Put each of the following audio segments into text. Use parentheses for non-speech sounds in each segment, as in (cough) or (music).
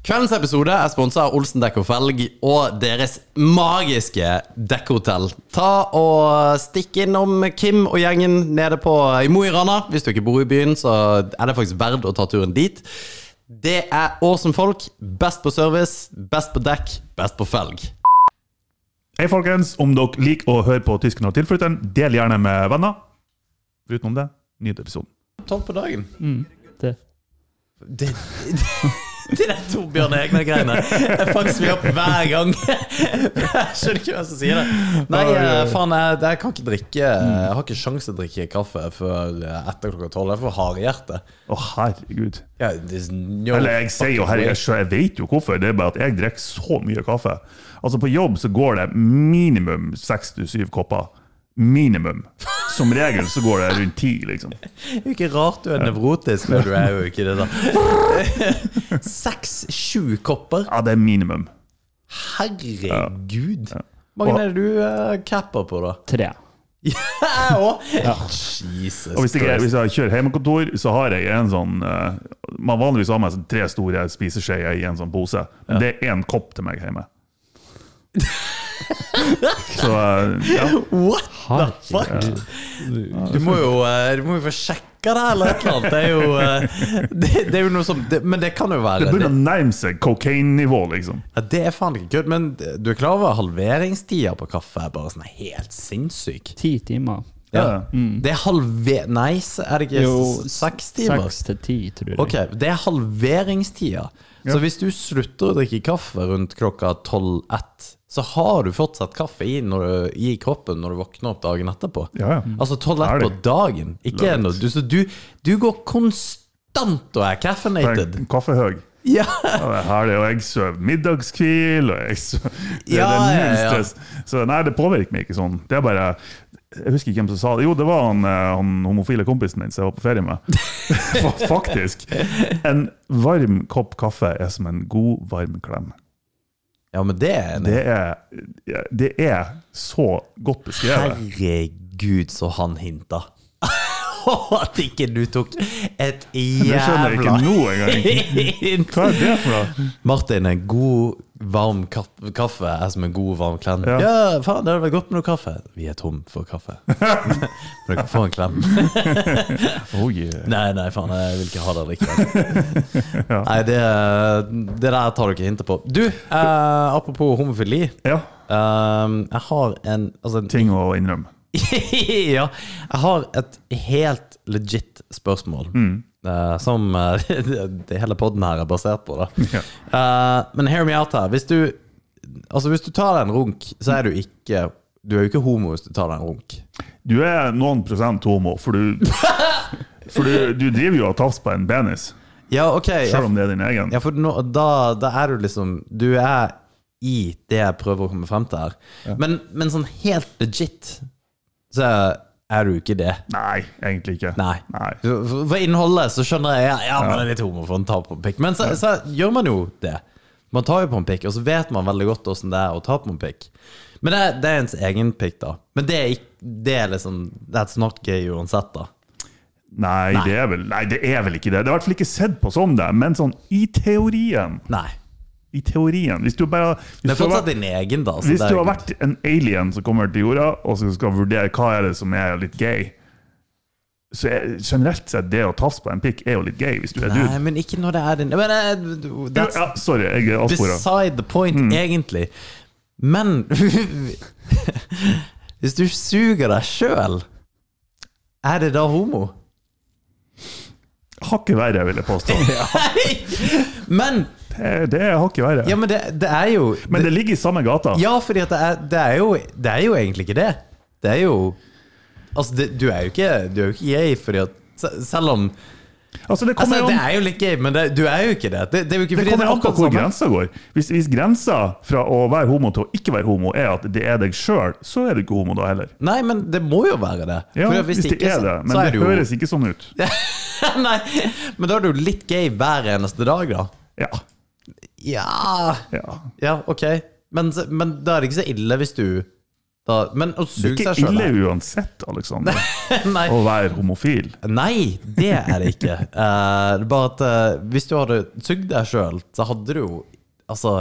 Kveldens episode er sponsa av Olsen Dekk og Felg og deres magiske dekkhotell. Ta og Stikk innom Kim og gjengen nede på i Mo i Rana. Hvis du ikke bor i byen, så er det faktisk verdt å ta turen dit. Det er awesome folk. Best på service, best på dekk, best på felg. Hei, folkens. Om dere liker å høre på Tysken og tilflytteren, del gjerne med venner. Utenom det, nyt episoden. Tolv på dagen. Det. Det, det, det der Torbjørn Egner-greiene Jeg faktisk meg opp hver gang. (laughs) Jeg skjønner ikke hvem som sier det. Nei, eh, faen, jeg, jeg kan ikke drikke Jeg har ikke sjans til å drikke kaffe før eh, etter klokka tolv. Jeg får hardhjerte. Å, herregud. Ja, there's no Eller jeg sier fucking jo way. herregud, jeg vet jo hvorfor. Det er bare at jeg drikker så mye kaffe. Altså, på jobb så går det minimum seks til syv kopper. Minimum. Som regel så går det rundt ti, liksom. Det er jo ikke rart du er nevrotisk, men du er jo ikke det, da. (laughs) Seks-sju kopper? Ja, det er minimum. Herregud. Hvor mange er det du eh, capper på, da? Tre. (laughs) Jeg òg! Jesus Og hvis jeg, Christ. hvis jeg kjører hjemmekontor, så har jeg en sånn eh, Man vanligvis har med seg tre store spiseskjeer i en sånn pose. Men det er én kopp til meg hjemme. så eh, ja. What the Herregud. fuck? Du må jo, eh, du må jo få sjekka det eller et eller annet. Det er jo, eh, det, det er jo noe som det, Men det kan jo være Det Det, begynner å nærme seg cocaine-nivå, liksom. ja, det er faen ikke kødd, men du er klar over halveringstida på kaffe er bare sånn helt sinnssyk? Ti timer. Ja. Det er halve... Nei, s- er det ikke Jo, s- seks timer? Seks til ti, tror jeg. Ok, det er halveringstida. Så hvis du slutter å drikke kaffe rundt klokka 12-1, så har du fortsatt kaffe i, når du, i kroppen når du våkner opp dagen etterpå. Ja, ja. Altså 12-1 Er på det? dagen. Ikke Love noe. Du, så du, du går konstant og er caffeinated. Kaffehøg. Ja. Ja, det er herlig, og jeg sover middagskvil, og jeg (laughs) sover Det, Ja, det er null ja, ja. stress. Så nei, det påvirker meg ikke sånn. Det er bare Jeg husker ikke hvem som sa det. Jo, det var han, eh, han homofile kompisen min som jeg var på ferie (laughs) med. Faktisk. En varm kopp kaffe er som en god, varm klem. (laughs) ja, men det er en Det er, det er så godt beskrevet. Herregud, så han (laughs) hinta. At ikke du tok et Det skjønner jævla jeg ikke nå engang. (laughs) hint. Hva er det for noe? Martin, en god, varm kaf- kaffe er som en god, varm klem. Ja, Ja. faen, det hadde vært godt med noe kaffe. Vi er tom for kaffe. Men dere får en klem. Oh, yeah. Nei, nei, faen, jeg vil ikke ha det likevel. Nei, det, det der tar du ikke hintet på. Du, eh, apropos homofili. Ja, eh, jeg har en altså, en- ting å innrømme. (laughs) ja, jeg har et helt legit spørsmål. Mm. eh, som eh, (laughs) det- det hele podden her er basert på. Da. Eh, men hear me out her. Hvis du, altså, hvis du tar deg en runk, så er du ikke Du er jo ikke homo hvis du tar deg en runk. Du er noen prosent homo, (laughs) for du, for du, du driver jo og tafser på en penis. Ja, ok. Ja, Selv om det er din egen. ja, for nå, da, da er du liksom Du er i det jeg prøver å komme frem til her. Men, men sånn helt legit, så er du ikke det. Nei, egentlig ikke. Nei. For for innholdet så skjønner jeg ja, ja, man er litt homo for man tar på en pikk. Men så, så gjør man jo det. Man tar jo på en pikk, og så vet man veldig godt åssen det er å ta på en pikk. Men det, det er ens egen pikk, da. Men det er, ikke, det er liksom That's not gay uansett, da. Nei, Det er vel, nei, det er vel ikke det. Det er i hvert fall ikke sett på som det, men sånn i teorien. Nei. I teorien. Hvis du Det bare er hvis du, har, fortsatt vært- din egen, da. så hvis det er du har jo- vært en alien som kommer til jorda, og så skal vurdere hva er det som er litt gay så er, generelt sett, det å tafse på en pikk er jo litt gay, hvis du er Nei, dude. men ikke når det er din men, eh, Jo, That's Ja, Mm. sorry, jeg er avspora. beside the point, egentlig. Men (laughs) hvis du suger deg sjøl, er det da homo? Hakket verre, vil jeg påstå. (laughs) Men Det, det er hakket verre. Ja, men det, det er jo Men det ligger i samme gata. Ja, fordi at det er, det, er jo, det er jo egentlig ikke det. Det er jo Altså, det, du er jo ikke Du er jo ikke gay fordi at se- Selv om Altså, det kommer Altså, jo det an- er jo litt gay, men det, du er jo ikke det. Det, det er jo ikke Det fordi kommer an på akkurat hvor samme. grensa går. Hvis, hvis grensa fra å være homo til å ikke være homo er at det er deg sjøl, så er du ikke homo da heller. Nei, men det må jo være det. Ja, Fordi at hvis, det ikke, er så- det, men så er det du jo- høres ikke sånn ut. (laughs) Nei, men da er du jo litt gay hver eneste dag, da. Ja. Ja ja. Ja, ok. Men, men da er det ikke så ille hvis du Da, men å Det er suge ikke seg sjøl ille uansett, (laughs) Aleksander, Nei. å være homofil. Nei, det er det (laughs) ikke. Eh, det er bare at eh, hvis du hadde sugd deg sjøl, så hadde du jo Altså,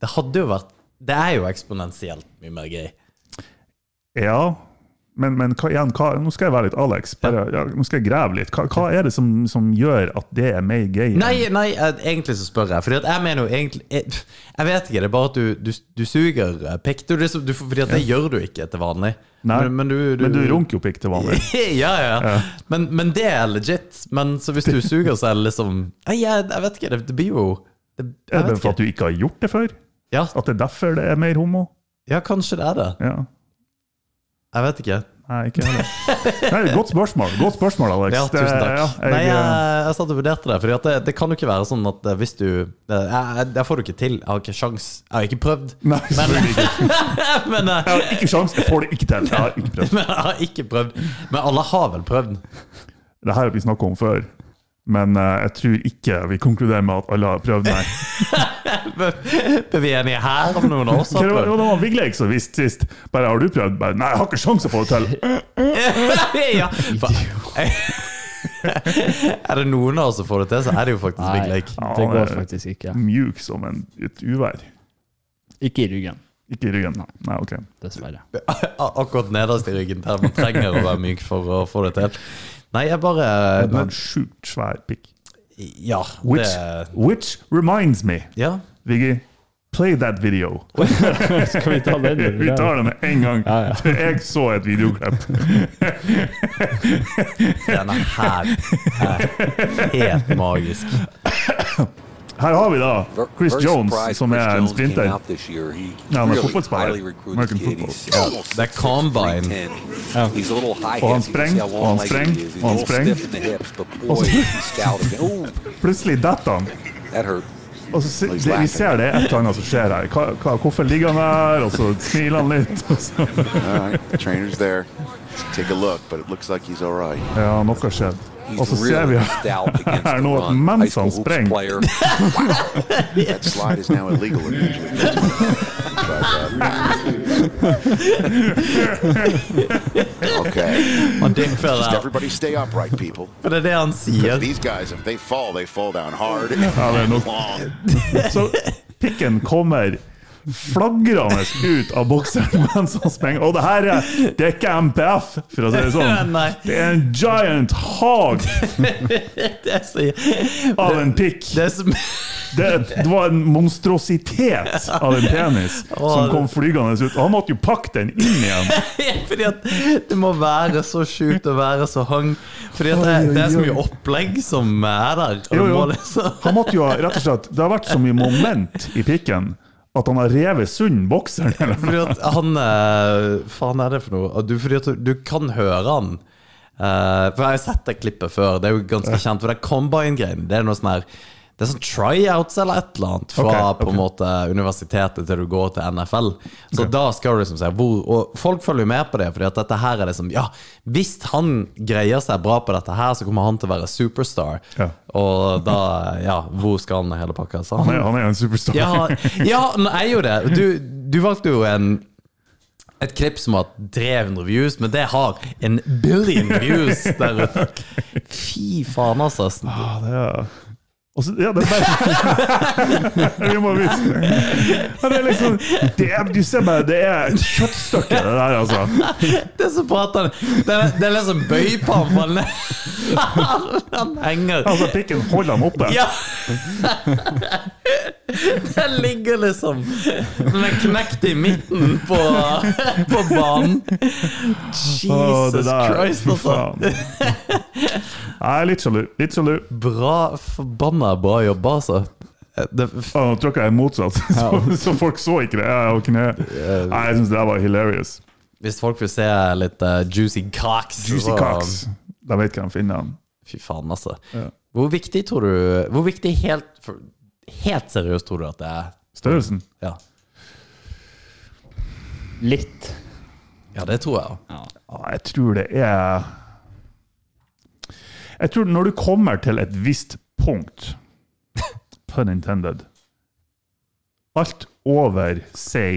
det hadde jo vært Det er jo eksponentielt mye mer gøy. Ja, men, men hva, igjen, hva, nå skal jeg være litt Alex. Bare, ja, nå skal jeg grave litt. Hva, hva er det som, som gjør at det er mer gøy? enn- Nei, nei, eh, egentlig så spør jeg. Fordi at jeg mener jo egentlig Jeg, jeg vet ikke, det er bare at du, du, du suger eh, pikk. Du, liksom, du, fordi at det gjør du ikke til vanlig. Nei, Men, men du, du, (laughs) Men du runker jo pikk til vanlig. ja, ja, ja. Men, men det er legit. Men så hvis du suger, så er det liksom Nei, Jeg, jeg vet ikke, det, det blir jo det, Er Jeg det vet for at ikke. du ikke har gjort det før? Ja, At det er derfor det er mer homo? ja, kanskje det er det. Ja. Jeg vet ikke. Nei, ikke heller. Nei, godt spørsmål, godt spørsmål, Alex. Ja, tusen takk. Det- ja, Nei, jeg, eh, jeg, jeg satt og vurderte det, for det, det kan jo ikke være sånn at eh, hvis du Jeg, jeg, jeg får det ikke til. Jeg har ikke sjans. Jeg har ikke prøvd. (laughs) Nei, selvfølgelig ikke. Men, eh, Jeg har ikke sjans, jeg får det ikke til. Jeg har ikke prøvd. men jeg har ikke prøvd. Men alle har vel prøvd? Det her har vi snakket om før, men eh, jeg tror ikke vi konkluderer med at alle har (laughs) prøvd, nei. Men (laughs) vi er enige her om noen av oss Hva har det var, prøvd. det var Vigleik som visste sist. Bare, har du prøvd? Bare, nei, jeg har ikke sjans å få det til. (laughs) ja, for, (laughs) er det noen av oss som får det til, så er det jo faktisk Big Lake. (laughs) Ja, det det går er- faktisk ikke. Mjuk som en, et uvær. Ikke i ryggen, Ikke i ryggen. Nei, ok. dessverre. Akkurat nederst i ryggen, der man trenger å være myk for å få det til. Nei, jeg bare Det var en sjukt svær pikk. Ja. Which, Det, which reminds me, ja. Viggy, play that video. (laughs) Skal vi ta den? (laughs) Vi tar det med en gang. Ja, ja. For (laughs) Jeg så et videoklipp. Denne her er helt magisk. Her har vi da Chris Very Jones, surprised som Chris er en Jones came sprinter. out this year. He No, I'm a really football player. highly recruited American kid. football. He's Yeah. almost That 6'6", combine. 310. Oh. He's a little high On hip. You can spring, see how long on legged spring, he is. He's a on little spring. stiff in the hips, but boy, (laughs) he's stout again. Ooh, Plutselig detter han. that hurt. Og så se, det, vi ser det er et eller annet som skjer her. Hva, hva, hvorfor ligger han der? Og så smiler han litt. Og så. All right, the trainer's there. Let's take a look, but it looks like he's all right. Ja, noe skjedde. Og så He's ser vi really stout against (laughs) her the nå at run. High mens school han hoops sprenger player. That slide is now illegal in Major League Baseball. But, uh, okay. Man dickfell Just out. everybody stay upright, people. For det er det han sier. These guys, if they fall, they fall down hard they're and not- long. Så pikken kommer flagrende ut av bokseren (laughs) mens han sprenger. Og det her er, det er ikke MPF, for å si det sånn. Nei. Det er en giant hog Det er, så, det av en pikk. er som Det, det var en monstrositet av en penis som kom flygende ut. Og han måtte jo pakke den inn igjen. (laughs) Fordi at det må være så sjukt å være så hang. Fordi at det, det er så mye opplegg som er der. Og Jo, du jo. må liksom Han måtte jo ha- rett og slett Det har vært så mye moment i pikken at han har revet sund bokseren. Eller noe. Fordi (laughs) at han eh, Faen er det for noe? Og Du, fordi at du, du kan høre han. Eh, for Jeg har sett det klippet før. Det er jo ganske kjent. For det er combine-greien. Det er noe sånn her Det er sånn tryouts eller et eller annet fra Ok, ok. på en måte universitetet til du går til NFL. Så da skal du liksom se hvor Og folk følger jo med på det, Fordi at dette her er liksom Ja, hvis han greier seg bra på dette her, så kommer han til å være superstar. Ja. Og da Ja, hvor skal han i hele pakka? Så Han er- Han er jo en superstar. (laughs) ja, ja, han er jo det. Du, du valgte jo en et klipp som har 300 views, men det har en billion views der ute. Fy faen, altså. Ja, det er og så, ja, det er bare (laughs) Vi må vise Ja, Det er liksom det er, Du ser bare, det er et kjøttstykke, det der, altså. Det er så prater han Det er, det er liksom bøy på ham, for han, (laughs) han henger. Altså, Pikken holder han oppe. Ja! Den ligger liksom Den er knekt i midten på, på banen. Å, det Jesus der, Christ, fy altså. faen. Jeg er litt sjalu. Litt sjalu. Bra, forbanna bra jobba, altså. Det, Ja, Nå tråkka jeg motsatt, (laughs) så, så folk så ikke det. Jeg, og kne. Nei, jeg syns det der var hilarious. hvis folk vil se litt eh, juicy cocks Juicy så- Cox. Da vet ikke han finner han. Fy faen, altså. Hvor viktig tror du Hvor viktig helt, for, helt seriøst tror du at det er? Størrelsen? Ja, Litt. ja det tror jeg. Ja. Ja, jeg tror det er Jeg tror når du kommer til et visst punkt (laughs) Pun intended. Alt over, si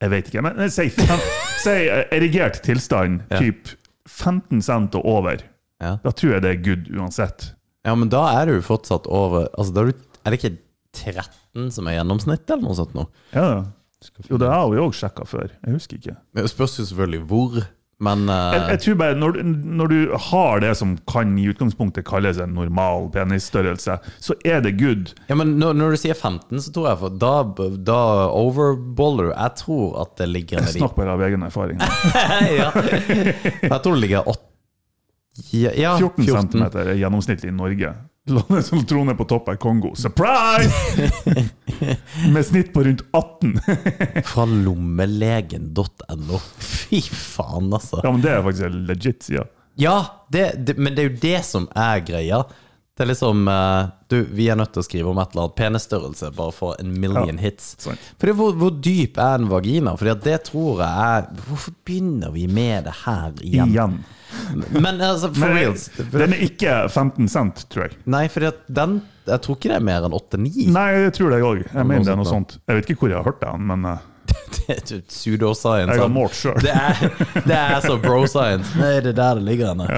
Jeg vet ikke, men men si, (laughs) fem, si eh, erigert tilstand, Ja. typ 15 cent og over. Ja. Da tror jeg det er good uansett. Ja, men da er du jo fortsatt over altså, da er, du, er det ikke 13 som er gjennomsnittet, eller noe sånt nå? Ja, da. Jo, det har vi òg sjekka før. Jeg husker ikke. Men Det spørs jo selvfølgelig hvor, men eh, Jeg, jeg tror bare når, du- når du har det som kan i utgangspunktet kalles en normal penisstørrelse, så er det good. Ja, men når, når du sier 15, så tror jeg for Da, da overballer du. Jeg tror at det ligger nedi Snakk bare av egen erfaring. Ah, ja. (laughs) Jeg tror det ligger 8 ja, ja, 14 cm er gjennomsnittlig i Norge. Landet som troner på topp er Kongo. (laughs) Surprise! Med snitt på rundt 18. Fra lommelegen.no. Fy faen, altså. Ja, men det er faktisk en legit side. Ja, det, det, men det er jo det som er greia. Det er liksom eh, Du, vi er nødt til å skrive om et eller annet penisstørrelse bare for en million Ja, hits. sant. Fordi hvor, hvor dyp er en vagina? Fordi at det tror jeg er Hvorfor begynner vi med det her igjen? Igjen. Men altså, for Men reals. den er ikke 15 cent, tror jeg. Nei, fordi at den Jeg tror ikke det er mer enn 8-9. Nei, jeg tror det jeg òg. Jeg mener det sånt, er noe sånt. Jeg vet ikke hvor jeg har hørt det, men eh, Pseudoscience. jeg har målt sjøl. Det er, det er så bro-science. Nei, det er der det ligger henne.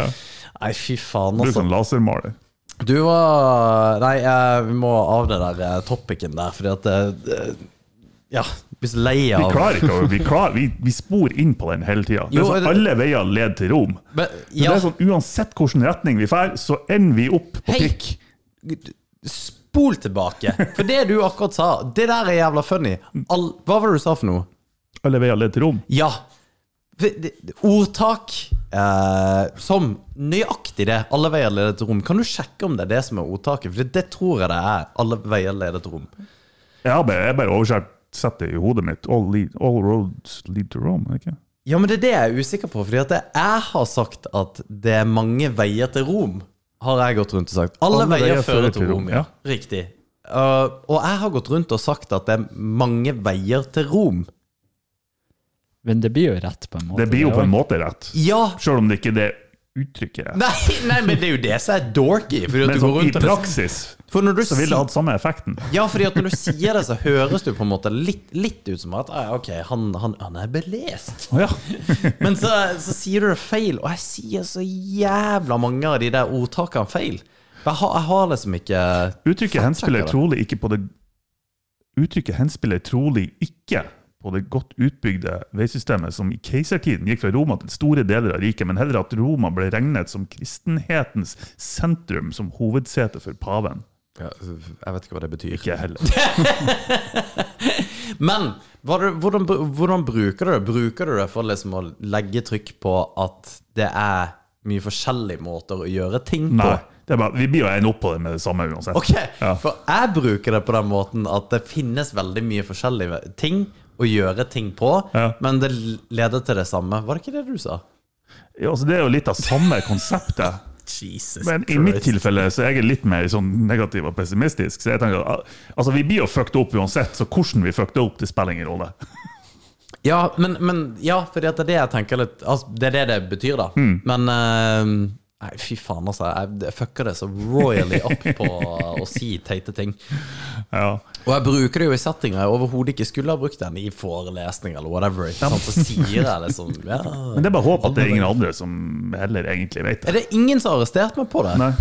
Nei, fy faen, Du er altså. sånn lasermaler. Du var Nei, eh, vi må av det der eh, topicen der, fordi at eh, Ja, hvis lei Vi av klarer ikke å Vi, klarer, vi, vi spor inn på den hele tida. Jo, det- Sånn, alle veier leder til Rom. Men, Men ja, det er sånn, Uansett hvilken retning vi drar, så ender vi opp på Hei! pikk. spol tilbake. For det du akkurat sa, det der er jævla funny. All, hva var det du sa for noe? Alle veier leder til Rom. Ja. Det- det- Ordtak eh, som nøyaktig det. Alle veier leder til rom. Kan du sjekke om det er det som er ordtaket? For det tror jeg det er. Alle veier leder til rom. Jeg har bare, jeg bare oversatt sett det i hodet mitt. All, lead, all roads lead to Rome. er det Ikke? Ja, men det er det jeg er usikker på. Fordi at jeg- jeg har sagt at det er mange veier til Rom. Har jeg gått rundt og sagt. Alle, veier, fører til Rom, ja. Riktig. Uh, og jeg har gått rundt og sagt at det er mange veier til Rom. Men det blir jo rett, på en måte. Det blir jo på en også. måte rett, Ja! sjøl om det ikke er det uttrykket er. Nei, nei, men det er jo det som er dorky. Fordi at Men du går sånn, i rundt og praksis For når du så ville det sier- hatt samme effekten. Ja, fordi at når du sier det, så høres du på en måte litt, litt ut som at ah, ja, Ok, han, han, han er belest. Å ja. (laughs) Men så, så sier du det feil, og jeg sier så jævla mange av de der ordtakene feil. Jeg har, jeg har liksom ikke Uttrykket henspiller det. trolig ikke på det Uttrykket henspiller trolig ikke på det godt utbygde veisystemet som i keisertiden gikk fra Roma til store deler av riket, men heller at Roma ble regnet som kristenhetens sentrum som hovedsete for paven. Jeg vet ikke hva det betyr. Ikke heller. Men hva er det, hvordan, br- hvordan bruker du det? Bruker du det for liksom å legge trykk på at det er mye forskjellige måter å gjøre ting på? Nei. Det er bare, vi blir jo ene opp på det med det samme uansett. Ok, Ja. for jeg bruker det på den måten at det finnes veldig mye forskjellige ting å gjøre ting på, Ja. men det leder til det samme. Var det ikke det du sa? Ja, altså, det er jo litt av samme konseptet. Jesus Men i mitt tilfelle så er jeg litt mer sånn negativ og pessimistisk. Så jeg tenker at altså, vi blir jo fucked opp uansett, så hvordan vi fucked opp, det spiller ingen rolle. Ja, men, men ja, for det er det jeg tenker litt altså, Det er det det betyr, da. Mm. Men eh, Nei, fy faen, altså. Jeg, jeg fucker det så royally opp på å si teite ting. Ja. Og jeg bruker det jo i settinger jeg overhodet ikke skulle ha brukt den i forelesning eller whatever. Ikke sant? Så sier jeg liksom ja. Men det er bare håp at det er ingen andre som heller egentlig vet det. Er det ingen som har arrestert meg på det? Nei.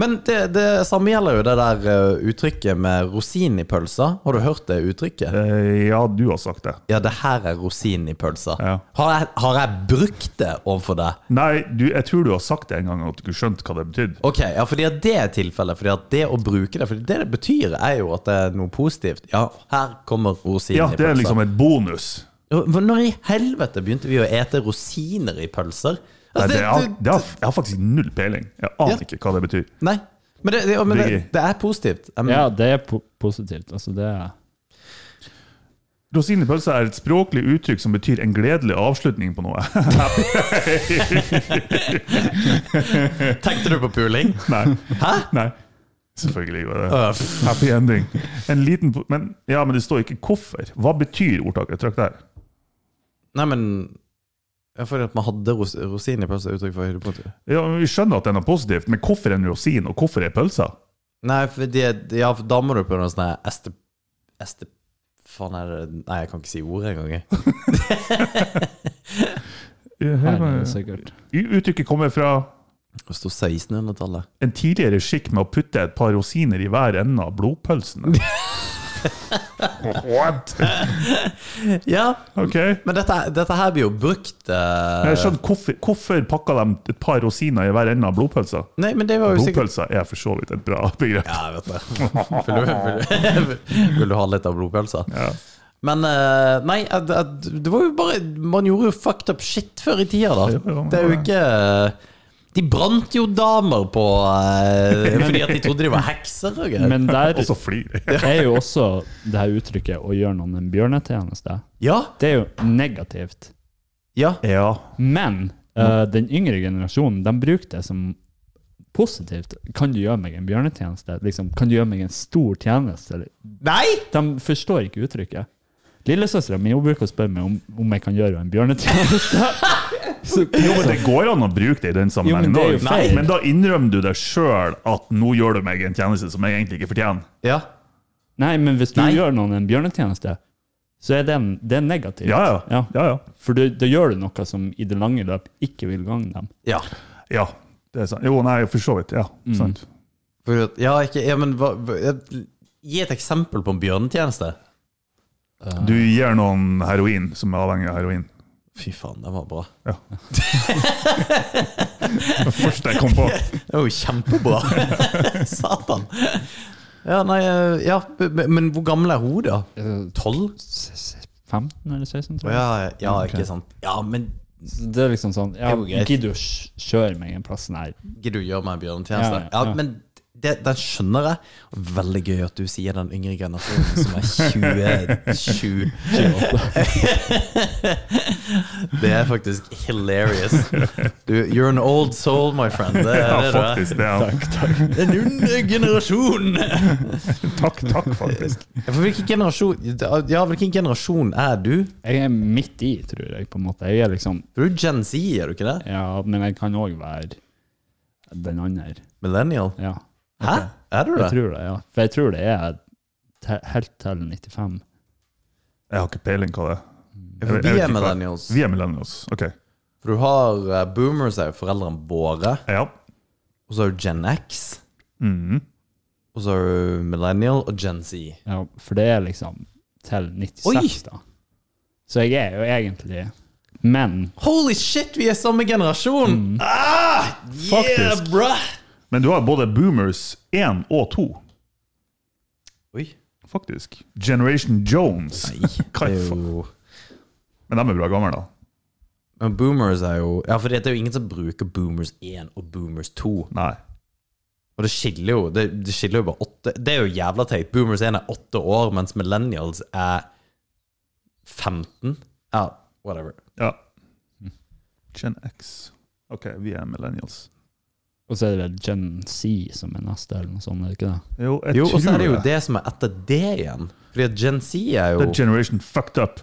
Men det, det samme gjelder jo det der eh, uttrykket med rosin i pølsa. Har du hørt det uttrykket? Eh, Ja, du har sagt det. Ja, det her er rosin i pølsa. Ja. Har, jeg, har jeg brukt det overfor deg? Nei, du, jeg tror du har sagt det en gang at du ikke skjønte hva det betydde. Ok, ja, fordi at det er tilfellet. Fordi at det å bruke det Fordi det det betyr, er jo at det er noe positivt. Ja, her kommer rosin Ja, i det pølsa. er liksom et bonus. Hvor- Når i helvete begynte vi å ete rosiner i pølser? Nei, Altså, det er, det- det har, jeg har faktisk null peiling. Jeg aner ikke hva det betyr. Nei. Men det, det, ja, men det, Digg. det er positivt. Um, Jeg mener- Ja, det er po positivt. Altså, det er Rosin i pølsa er et språklig uttrykk som betyr en gledelig avslutning på noe. (laughs) Tenkte du på puling? Nei. Hæ? Nei. Selvfølgelig gjorde jeg det. Øh, Happy ending. En liten, po- men, ja, men det står ikke hvorfor. Hva betyr ordtaket? Trykk der. Nei, men jeg føler at man hadde ros rosin i pølsa uttrykk for høydepunkt. Ja, men vi skjønner at det er noe positivt, men hvorfor en rosin, og hvorfor er pølsa? Nei, for det, ja, for da må du på noe sånn her este... este... faen er det Nei, jeg kan ikke si ordet engang. jeg. Her er det sikkert. Uttrykket kommer fra Det sto 1600-tallet. en tidligere skikk med å putte et par rosiner i hver ende av blodpølsene. What? Ja, Ok. men dette, dette her blir jo brukt eh, Jeg skjønner hvorfor, hvorfor pakka de et par rosiner i hver ende av blodpølsa. Nei, men det var jo sikkert Blodpølsa er for så vidt et bra begrep. Ja, jeg vet det. Vil du, vil, du, vil du ha litt av blodpølsa? Ja. Men eh, nei, at- at det var jo bare Man gjorde jo fucked up shit før i tida, da. Ja, ja, Det er jo ikke eh, De brant jo damer på eh, fordi at de trodde de var hekser og greier. Men der Og så flirer jeg. er jo også det her uttrykket 'å gjøre noen en bjørnetjeneste'. Ja, Det er jo negativt. ja. Ja. Men eh, Mm. den yngre generasjonen de bruker det som positivt. Kan du gjøre meg en bjørnetjeneste? Liksom, kan du gjøre meg en stor tjeneste? Nei! De forstår ikke uttrykket. Lillesøstera mi hun bruker å spørre meg om, om jeg kan gjøre henne en bjørnetjeneste. (laughs) Så, Jo, men Det går an å bruke det i den Jo, men sammenhengen. det er jo også. feil. men da innrømmer du deg sjøl at nå gjør du meg en tjeneste som jeg egentlig ikke fortjener. Ja. nei, men hvis du Nei. gjør noen en bjørnetjeneste, så er det, en, det er negativt. Ja, ja. ja, ja. For du- da gjør du noe som i det lange løp ikke vil gagne dem. ja. ja det er sant. Jo, nei, for så vidt. Ja, sant. For at, ja, ikke, ja men hva, hva- Gi et eksempel på en bjørnetjeneste. Du gir noen heroin som er avhengig av heroin. Fy faen, den var bra. Ja. Det første jeg kom (laughs) på. Det var jo kjempebra! Satan. Ja, nei, eh, ja, men- men hvor gammel er hun, da? 12? 15 eller 16, tror jeg. Eh, Ja, ja ikke sant. Ja, men Så Det er liksom sånn ja, Det er jo greit. Gidder du å sj- kjøre meg en plass? Nei. gidder du gjøre meg en bjørnetjeneste? Ja, Ja, ja. men det, den skjønner jeg. Og Veldig gøy at du sier den yngre generasjonen som er 27. Det er faktisk hilarious. Du, you're an old soul, my friend. Det Ja, er det du er. faktisk. Det er. En yngre generasjon! Takk, takk, faktisk. For hvilken generasjon Ja, hvilken generasjon er du? Jeg er midt i, tror jeg, på en måte. Jeg er liksom Du er Gen Z, er du ikke det? Ja, men jeg kan òg være den andre. Millennial. Ja. Hæ? Er du Jeg det? tror det, ja. For jeg tror det er te helt til 95. Jeg har ikke peiling hva det er. Jeg vet- jeg Vi er vet ikke hva det er. millennials. Vi er millennials. Ok. For du har eh, boomers, er jo foreldrene våre. Ja. Og så har du Gen X. Mhm. Og så har du Millennial og Gen Z. Ja, for det er liksom til 96, Oi! da. Så jeg er jo egentlig Men Holy shit, vi er samme generasjon! Ah, yeah, Mm. Faktisk. bruh! Men du har både Boomers 1 og 2. Oi. Faktisk. Generation Jones. (laughs) Hva Det i er fa- jo Men de er bra gamle, da. Men boomers er jo Ja, for det er jo ingen som bruker boomers 1 og boomers 2. Nei. Og det skiller jo Det, det skiller jo bare åtte Det er jo jævla teit. Boomers 1 er åtte år, mens millennials er 15. Ja, whatever. Ja. Gen X. OK, vi er millennials. Og så er det vel Gen Z som er neste, eller noe sånt, er det ikke det? Jo, jeg Jo, og så tror er det jo det. det som er etter det igjen. Fordi at Gen Z er jo The generation fucked up.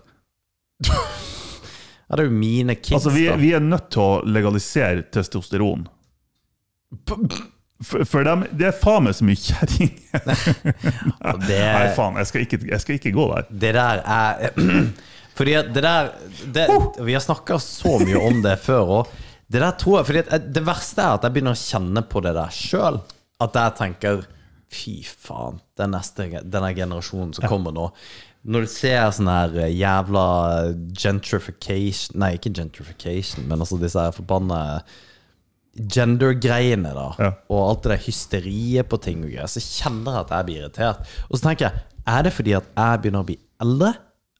Ja, det er jo mine kids, Altså, vi, da. vi er nødt til å legalisere testosteron. For, for dem, det er faen meg så mye kjerring. Og det, Nei, faen, jeg skal, ikke, jeg skal ikke gå der. det der er (clears throat) Fordi at det der det, Vi har snakka så mye om det før òg. Det der tror jeg Fordi at eh, det verste er at jeg begynner å kjenne på det der sjøl. At jeg tenker Fy faen, den neste denne generasjonen som kommer nå. Når du ser sånn her jævla gentrification Nei, ikke gentrification, men altså disse her forbanna gender-greiene, da, Ja. og alt det der hysteriet på ting og greier, så kjenner jeg at jeg blir irritert. Og så tenker jeg, er det fordi at jeg begynner å bli eldre,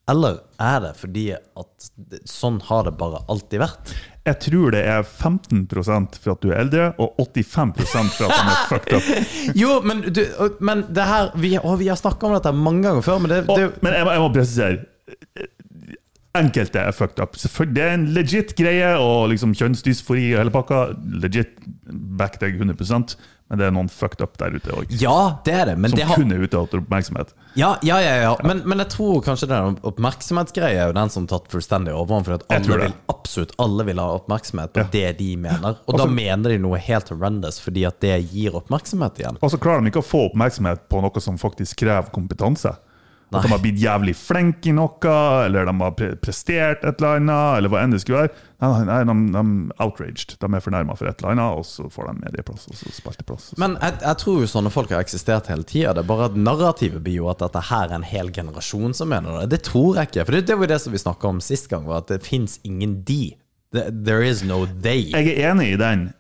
eller er det fordi at det- sånn har det bare alltid vært? Jeg tror det er 15 for at du er eldre, og 85 for at de er fucked up. (laughs) Jo, men, du, og- men det her Vi, å, vi har snakka om dette mange ganger før, men det, Og, det men jeg, må- jeg må presisere. Enkelte er fucked up. Selvfølgelig, Det er en legit greie, og liksom kjønnsdysfori og hele pakka. Legit, back deg 100 men det er noen fucked up der ute òg. Ja, det er det, men Som det har kun er ute etter oppmerksomhet. Ja, ja, ja, ja. Men, men jeg tror kanskje den oppmerksomhetsgreia er jo den som tatt fullstendig overhånd. For at Jeg tror alle det. vil, absolutt alle vil ha oppmerksomhet på Ja. det de mener. Og da mener de noe helt horrendous, fordi at det gir oppmerksomhet igjen. Og så klarer de ikke å få oppmerksomhet på noe som faktisk krever kompetanse. At de har blitt jævlig flinke i noe, eller de har pre prestert et eller annet, eller hva enn det skulle være. Nei, nei, nei, de, de er outraged. De er fornærma for et eller annet, og så får de medieplass og så spalteplass. og så- Men jeg, jeg tror jo sånne folk har eksistert hele tida. Det er bare at narrativet blir jo at dette her er en hel generasjon som mener det. Det tror jeg ikke. For det, det var jo det som vi snakka om sist gang, var at det fins ingen de. Det- There is no they. Jeg er enig i den.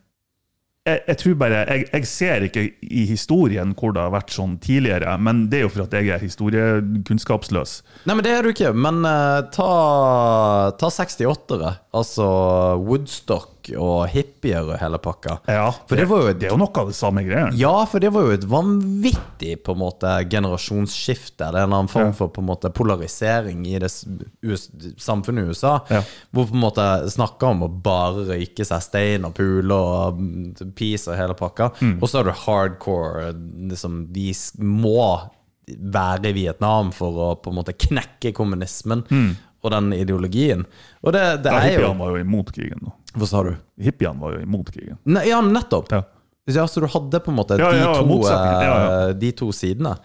Jeg, jeg tror bare, jeg, jeg ser ikke i historien hvor det har vært sånn tidligere, men det er jo for at jeg er historiekunnskapsløs. Nei, men det er du ikke. Men eh, ta, ta 68-ere. Altså Woodstock og hippier og hele pakka. Ja, For det var jo et- det er jo noe av det samme greia. Ja, for det var jo et vanvittig på en måte generasjonsskifte. Det er en annen form Ja. for på en måte polarisering i det s- US, samfunnet i USA. Ja. Hvor på en måte snakka om å bare røyke seg stein og pule og mm, peace og hele pakka. Og så er det hardcore liksom, Vi s- må være i Vietnam for å på en måte knekke kommunismen og den ideologien. Og det, det Ja, er jo Hippiene var jo imot krigen. nå. Hva sa du? Hippiene var jo imot krigen. Nei, ja, men nettopp. Ja. Ja, så du hadde på en måte Ja, de, ja, to, motsetning. Ja, Mm. eh, de to sidene.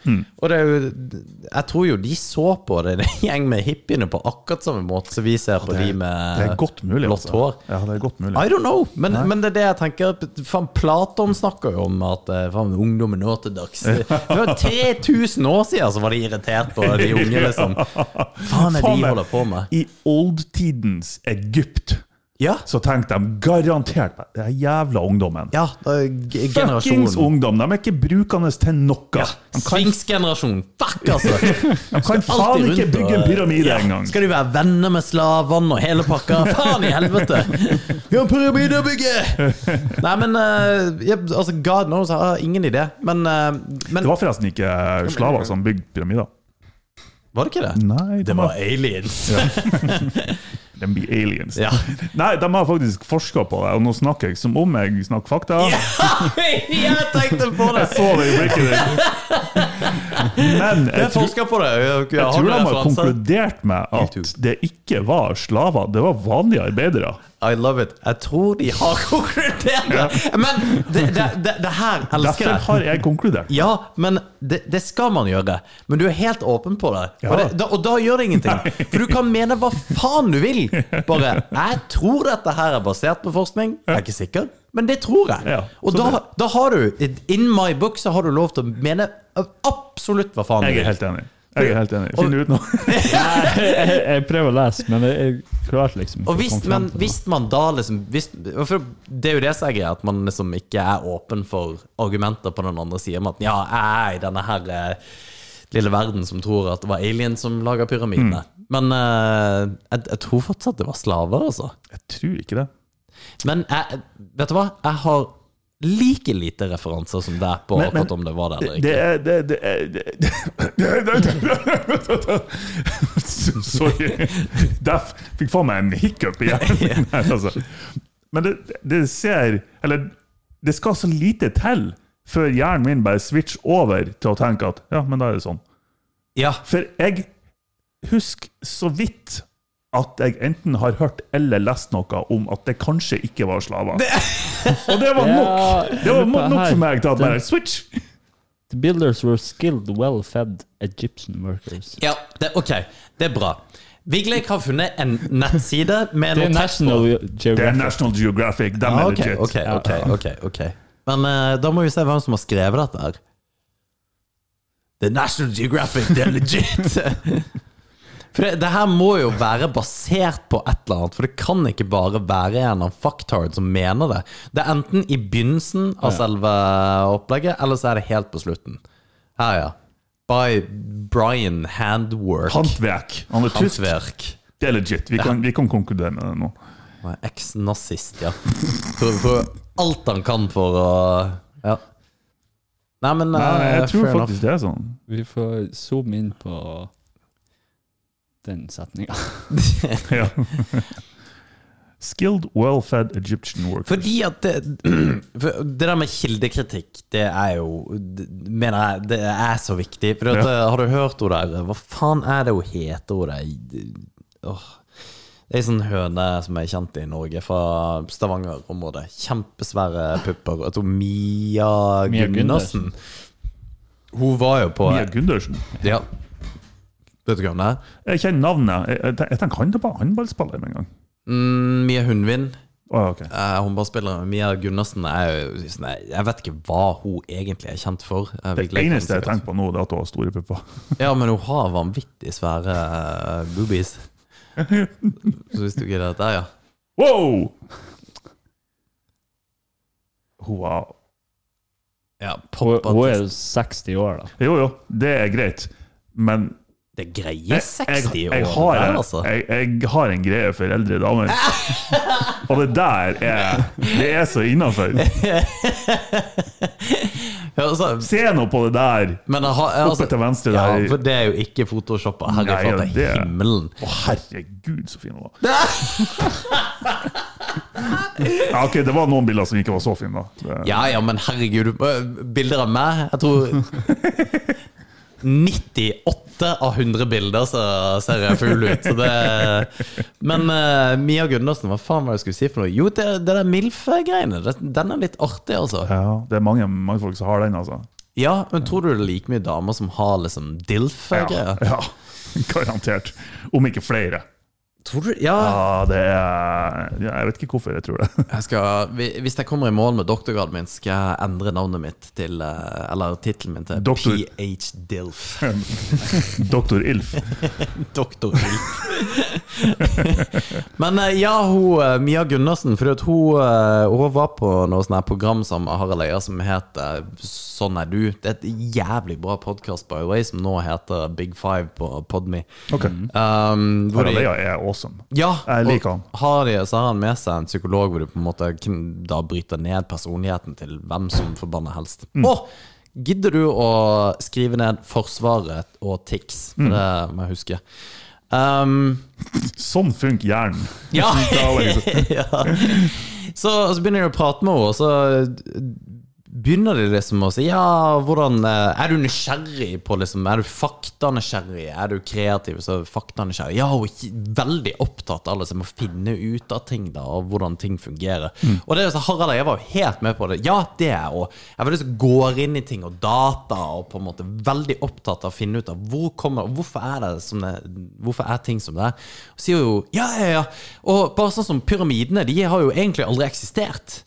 Og det er jo Jeg tror jo de så på det, det er en gjeng med hippiene, på akkurat samme måte som vi ser på de Det er med godt mulig. Eh, blått altså. hår. Ja, det er godt mulig. I don't know, men, men det er det jeg tenker. Faen, Platon snakker jo om at eh, faen, ungdommen nå til dags Det var 3000 år siden så var de irritert på de unge, (laughs) liksom. Faen er det Faen, de holder på med? I oldtidens Egypt Ja, så tenkte de garantert på det er jævla ungdommen. ja det er g- Fuckings generasjonen. ungdom! De er ikke brukende til noe. De kan, Sfinksgenerasjonen. Fuck, altså! de kan Alltid faen ikke rundt bygge en og- pyramide Ja, engang! Skal de være venner med slavene og hele (laughs) pakka? Faen i helvete! Vi har en pyramide å bygge! Nei, men eh, ja, altså, God knows, jeg har ingen idé. Men, eh, men Det var forresten ikke slaver som bygde pyramider. var det ikke det? Nei, de, Det var var, aliens. de blir aliens. Ja. (laughs) Nei, de har faktisk forska på det, og nå snakker jeg som om jeg snakker fakta. (laughs) Jeg tenkte på det! Jeg så det i blikket ditt! (laughs) Men Jeg jeg tror forsker på det. Jeg, jeg, Jeg har tror de noen har referanser. konkludert med at YouTube. det ikke var slaver, det var vanlige arbeidere. I love it. Jeg tror de har (laughs) konkludert det. Men det, det, det, det her elsker Derfor jeg. har jeg konkludert. Ja, men det, det skal man gjøre. Men du er helt åpen på det. Ja. Og, det, da, og da gjør det ingenting. For du kan mene hva faen du vil. Bare 'Jeg tror dette her er basert på forskning'. Jeg er ikke sikker, men det tror jeg. Ja, Og så da, det- da har du In my book så har du lov til å mene absolutt hva faen du Jeg er vil. helt enig. Jeg er helt enig. Finn det ut nå. (laughs) Jeg, jeg prøver å lese, men jeg, jeg klarte liksom Og ikke å hvis, komme frem men, til hvis man da liksom hvis, for Det er jo det som er greia, at man liksom ikke er åpen for argumenter på den andre siden om at ja, jeg er i denne her eh, lille verden som tror at det var aliens som laga pyramidene. Men eh, jeg, jeg tror fortsatt det var slaver, altså. Jeg tror ikke det. Men jeg, vet du hva? Jeg har like lite referanser som deg på Men- men- akkurat om det var det eller Det ikke. er det, det, er- det, (laughs) Sorry. Deff fikk faen meg en hiccup igjen. Nei, altså. Men det, det ser Eller det skal så lite til før hjernen min bare switcher over til å tenke at ja, men da er det sånn. Ja, For jeg husker så vidt at jeg enten har hørt eller lest noe om at det kanskje ikke var slaver. (laughs) Og det var nok! Ja, Det var dette nok her- for meg til at bare switch! The builders were skilled, well-fed Egyptian workers. ja det, ok. Det er bra. Vigleik har funnet en nettside med Det er noen tekst på. National Det er Geographic. National Geographic. De Ah, er ok, legit. ok, ok, ok, ok. Men eh, da må vi se hvem som har skrevet dette her. The National Geographic, det er legit! (laughs) For det, det her må jo være basert på et eller annet, for det kan ikke bare være en eller annen fucktard som mener det. Det er enten i begynnelsen av selve opplegget, eller så er det helt på slutten. Her, ja. By Brian Handwork. Handverk. Han er tysk. Handverk. Det er legit. Vi kan, vi kan konkludere med det nå. Han er Eks-nazist, ja. For, for alt han kan for å Ja. Nei, men Nei, jeg eh, tror fair faktisk det er sånn. (laughs) Vi får zoome inn på den setninga. enough. Ja. Skilled, well-fed Egyptian workers. Fordi at det, (clears throat) for det der med kildekritikk, det er jo det, Mener jeg det er så viktig. For at, eh, har du hørt henne der Hva faen er det hun heter, hun der? Åh. Det er ei sånn høne som er kjent i Norge, fra Stavanger-området. Kjempesvære pupper. Jeg tror Mia, Mia Gunnarsen. Hun var jo på Mia Gundersen. Ja. Vet du hvem det er? Jeg kjenner navnet. Jeg, jeg, tenker- jeg tenker han var håndballspiller med en gang. Mm, Mia Hundvin. Å, ok. Eh, håndballspilleren Mia Gunnarsen er jo sånn, jeg- Jeg vet ikke hva hun egentlig er kjent for. Eh, Det vi glemmer eneste henne jeg sikkert. tenker på nå, det er at hun har store pupper. Ja, men hun har vanvittig svære eh, (laughs) boobies. Så hvis du gidder dette, ja. Wow! Hun var ja (laughs) Hun, pop hun er artist. jo 60 år, da. Jo, jo, det er greit, men Det er greie 60 jeg, år. jeg, har, der, en- altså. jeg, jeg har en greie for eldre (laughs) damer. Og det der er Det er så innafor. Ja, altså, Se nå på det der! Men jeg har, jeg, altså, Oppe til venstre ja, der. for det er jo ikke photoshoppa. Herre Nei, flate ja, det er- himmelen. Å, herregud, så fin hun (laughs) var. Ja, ok, det var noen bilder som ikke var så fine, da. Det- Ja ja, men herregud. øh, Bilder av meg Jeg tror (laughs) 98 av 100 bilder så ser jeg full ut. Så det, men øh, Mia Gundersen, hva faen var det jeg skulle si for noe? Jo, det, det der MILF-greiene. det- Den er litt artig, altså. Ja, det er mange, mange folk som har den, altså. Ja, men tror du det er like mye damer som har liksom Ja, DILF-greier? ja, garantert. Om ikke flere. Tror du Ja. Ja, det er ja, Jeg vet ikke hvorfor jeg tror det. (laughs) Jeg skal, hvi- hvis jeg kommer i mål med doktorgraden min, skal jeg endre navnet mitt til eh, Eller tittelen min til Doktor- PH-DILF. Doktor Ilf. Doktor Ulf. (laughs) Men eh, ja, hun eh, Mia Gundersen, for at hun, eh, hun var på noe sånt her program som Harald Øya som het eh, Sånn er du. Det er et jævlig bra podkast, by the way, som nå heter Big Five på Podme. Ok. Um, hvor de- Haraldeia Mm. er awesome. ja, Jeg liker og han. Har de, så har han med seg en psykolog hvor du på en måte kun da bryter ned personligheten til hvem som forbanner helst. Mm. Og gidder du å skrive ned Forsvaret og TIX? Mm. For det må jeg huske. Um, (laughs) Sånn funker hjernen. ja. Da var (laughs) det liksom- ja. Så, og så begynner de å prate med henne, og så begynner de liksom å si Ja, hvordan eh, Er du nysgjerrig på liksom Er du faktanysgjerrig? Er du kreativ? Så faktanysgjerrig. Ja, hun er ikke- veldig opptatt av liksom å finne ut av ting, da, og hvordan ting fungerer. Og det er jo så Harald og jeg var jo helt med på det. Ja, det er jeg òg. Jeg var liksom går inn i ting og data, og på en måte veldig opptatt av å finne ut av hvor kommer Hvorfor er det som det Hvorfor er ting som det er? Og sier jo ja, ja, ja. Og bare sånn som pyramidene, de har jo egentlig aldri eksistert.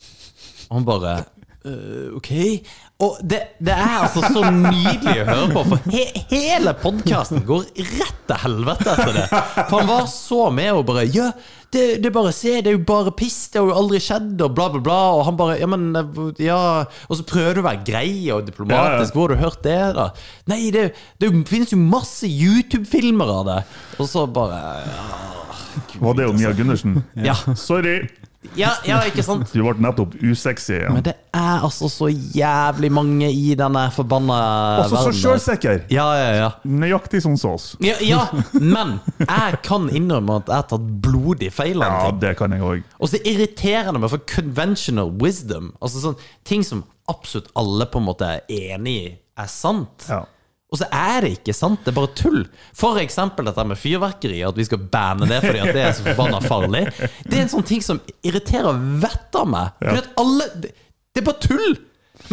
Og han bare «Øh, OK. Og det, det er altså så nydelig å høre på, for he, hele podkasten går rett til helvete etter det. For han var så med og bare Ja, det, det er bare se, det er jo bare piss, det har jo aldri skjedd, og bla, bla, bla. Og han bare Ja, men eh, Ja. Og så prøver du å være grei og diplomatisk. Hvor har du hørt det, da? Nei, det, det finnes jo masse YouTube-filmer av det. Og så bare Var det jo Mia Gundersen? (laughs) Ja. Sorry, Ja, ja ikke sant? du ble nettopp usexy igjen. Men det er altså så jævlig mange i denne forbanna Også så verden. altså. sjølsikker! Ja, ja, ja. Nøyaktig som sås. Ja, ja, men jeg kan innrømme at jeg har tatt blodig feil av en Ja, ting. det kan jeg òg. Og så irriterer det meg for conventional wisdom. Altså sånn ting som absolutt alle på en måte er enig i er sant. Ja. Og så er det ikke sant, det er bare tull. For eksempel dette med fyrverkeri, at vi skal banne det fordi at det er så forbanna farlig. Det er en sånn ting som irriterer vettet av meg. Fordi at alle det, det er bare tull!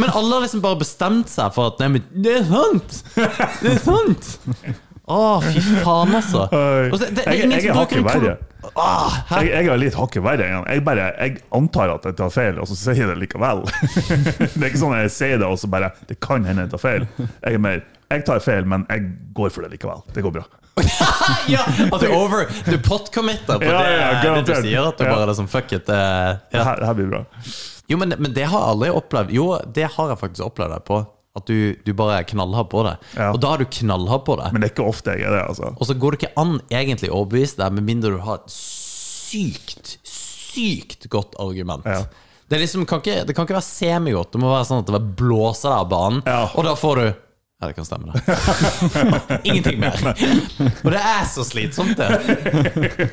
Men alle har liksom bare bestemt seg for at Nei, men det er sant! Det er sant! Å, fy faen, altså. Og så- det, det Jeg- er sånn- ingen jeg er som bruker hakket verre. kol- Åh, Ah, hæ? Jeg, jeg er litt hakket verre. enn han. Jeg bare, jeg antar at jeg tar feil, og så sier jeg det likevel. (laughs) det er ikke sånn at jeg sier det, og så bare Det kan hende jeg tar feil. Jeg er mer jeg tar feil, men jeg går for det likevel. Det går bra. ja, at du over Du potcommitter på Ja, det, ja, det du garantert. sier. At du Ja. bare liksom fuck it. eh, Det ja. her, det her blir bra. Jo, men, men det har jeg aldri opplevd. Jo, det har jeg faktisk opplevd deg på. At du, du bare er knallhard på det. Ja. Og da er du knallhard på det. Men det er ikke ofte jeg er det, altså. Og så går det ikke an egentlig å overbevise deg, med mindre du har et sykt, sykt godt argument. Ja. Det, er liksom, kan ikke, det kan ikke være semigodt. Det må være sånn at det bare blåser deg av banen, Ja. og da får du ja, det kan stemme, det. (laughs) Ingenting mer. Og det er så slitsomt, det.